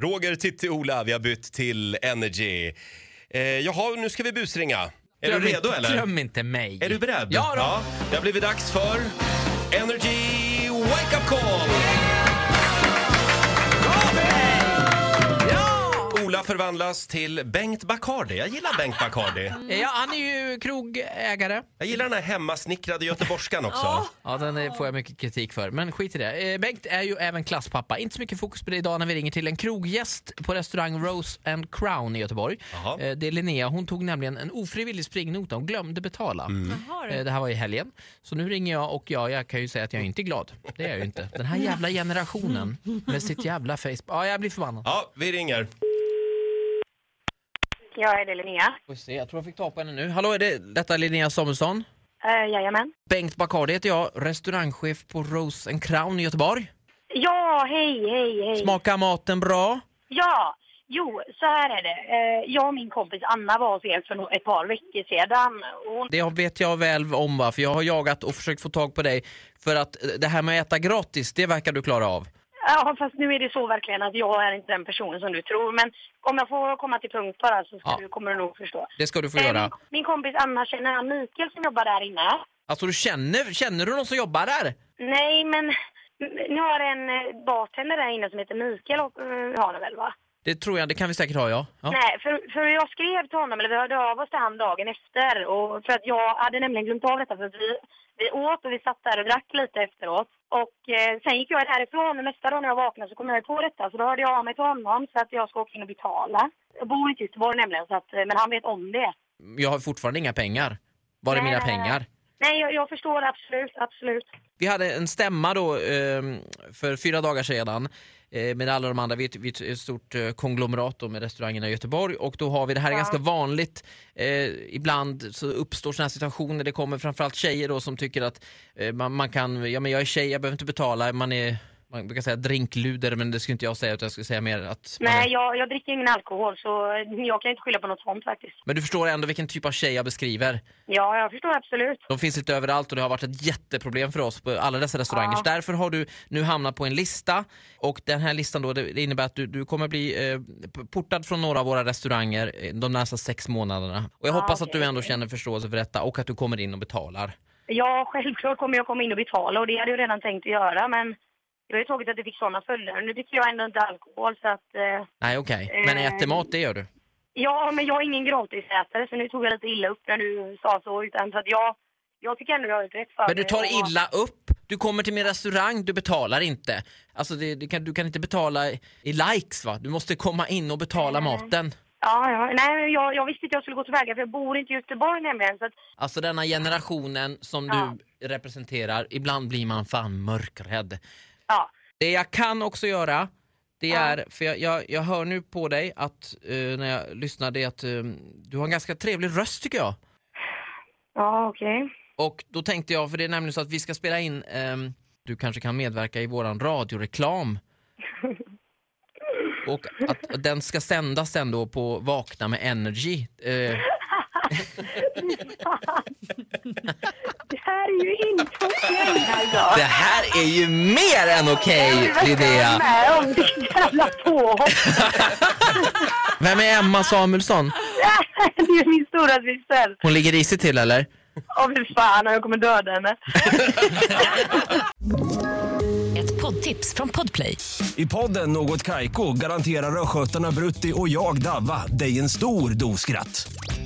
Roger, Titti, Ola, vi har bytt till Energy. Eh, jaha, nu ska vi busringa. Är du Dröm redo inte, eller? Dröm inte mig. Är du beredd? Ja då. Det har blivit dags för Energy Wake Up Call! Ola förvandlas till Bengt Bacardi. Jag gillar Bengt Bacardi. Ja, han är ju krogägare. Jag gillar den här hemmasnickrade göteborgskan också. Ja, den eh, får jag mycket kritik för. Men skit i det. Eh, Bengt är ju även klasspappa. Inte så mycket fokus på det idag när vi ringer till en kroggäst på restaurang Rose and Crown i Göteborg. Jaha. Eh, Det är Linnea. Hon tog nämligen en ofrivillig springnota. Hon glömde betala. Mm. Jaha, Eh, du. Det här var i helgen. Så nu ringer jag och jag, jag kan ju säga att jag inte är glad. Det är jag ju inte. Den här jävla generationen med sitt jävla Facebook. Ja, jag blir förbannad. Ja, vi ringer. Jag är det Linnea. Får se, Jag tror jag fick ta på henne nu. Hallå, är det detta Linnea Samuelsson? Uh, jajamän. Bengt Bacardi heter jag, restaurangchef på Rose and Crown i Göteborg. Ja, hej, hej, hej. Smakar maten bra? Ja, jo, så här är det. Eh, jag och min kompis Anna var hos er för nog ett par veckor sedan. Och Hon... Det vet jag väl om va, för jag har jagat och försökt få tag på dig. För att eh, det här med att äta gratis, det verkar du klara av. Ja, fast nu är det så verkligen att jag är inte den personen som du tror. Men om jag får komma till punkt bara så ska Ja. du, kommer du nog förstå. Det ska du få Eh, göra. Min, min kompis Anna känner han Mikael som jobbar där inne. Alltså du känner, känner du någon som jobbar där? Nej, men ni har en eh, bartender där inne som heter Mikael och, eh, har ni väl va? Det tror jag, det kan vi säkert ha ja. ja. Nej, för, för jag skrev till honom, eller vi hörde av oss till honom dagen efter. Och för att jag hade nämligen glömt av detta för att vi, vi åt och vi satt där och drack lite efteråt. Och eh, sen gick jag härifrån och nästa dag när jag vaknade så kom jag ju på detta. Så då hörde jag av mig till honom så att jag ska åka in och betala. Jag bor inte i Göteborg nämligen, så att, eh, men han vet om det. Jag har fortfarande inga pengar. Var är Nej, mina nej, nej. pengar? Nej, jag, jag förstår absolut, absolut. Vi hade en stämma då ehm, för fyra dagar sedan eh, med alla de andra. Vi är ett, vi är ett stort eh, konglomerat då med restaurangerna i Göteborg och då har vi, det här är ganska vanligt, eh, ibland så uppstår sådana här situationer, det kommer framförallt tjejer då som tycker att eh, man, man kan, ja men jag är tjej, jag behöver inte betala, man är man brukar säga drinkluder men det skulle inte jag säga utan jag skulle säga mer att man Nej, är, jag, jag dricker ingen alkohol så jag kan inte skylla på något sånt faktiskt. Men du förstår ändå vilken typ av tjej jag beskriver. Ja, jag förstår absolut. De finns lite överallt och det har varit ett jätteproblem för oss på alla dessa restauranger. Ja. Så därför har du nu hamnat på en lista och den här listan då, det det innebär att du, du kommer bli eh, p- portad från några av våra restauranger eh, de nästa sex månaderna. Och jag Ja, hoppas att okej, du ändå okej. känner förståelse för detta och att du kommer in och betalar. Ja, självklart kommer jag komma in och betala och det hade jag redan tänkt att göra men det var ju tråkigt att det fick sådana följder. Nu dricker jag ändå inte alkohol så att... Eh, Nej okej, men Eh. äter mat det gör du. ja, men jag är ingen gratisätare så nu tog jag lite illa upp när du sa så utan så att jag... Jag tycker ändå jag har gjort rätt för Men du mig tar och- illa upp, du kommer till min restaurang, du betalar inte. Alltså det, det kan, du kan inte betala i i likes va? Du måste komma in och betala Eh. maten. Ja, ja. Nej, men jag, jag visste inte jag skulle gå tillväga för jag bor inte i Göteborg nämligen så att... Alltså denna generationen som Ja. du representerar, ibland blir man fan mörkrädd. Ja. Det jag kan också göra, det Ja. är, för jag, jag, jag hör nu på dig att eh, när jag lyssnar, det är att eh, du har en ganska trevlig röst tycker jag. Ja, okej. Och då tänkte jag, för det är nämligen så att vi ska spela in, ehm, du kanske kan medverka i våran radioreklam. Och att den ska sändas sen då på Vakna med Energy. Eh, Det här är ju inte okej alltså! det här är ju mer än okej Det är det värsta jag Linnea! är med om ditt jävla påhopp! Vem är Emma Samuelsson? Det är min stora syster! Hon ligger risigt till eller? Åh fy fan, jag kommer döda henne. Ett poddtips från Podplay. I podden Något Kaiko garanterar östgötarna Brutti och jag, Davva, dig en stor dos skratt.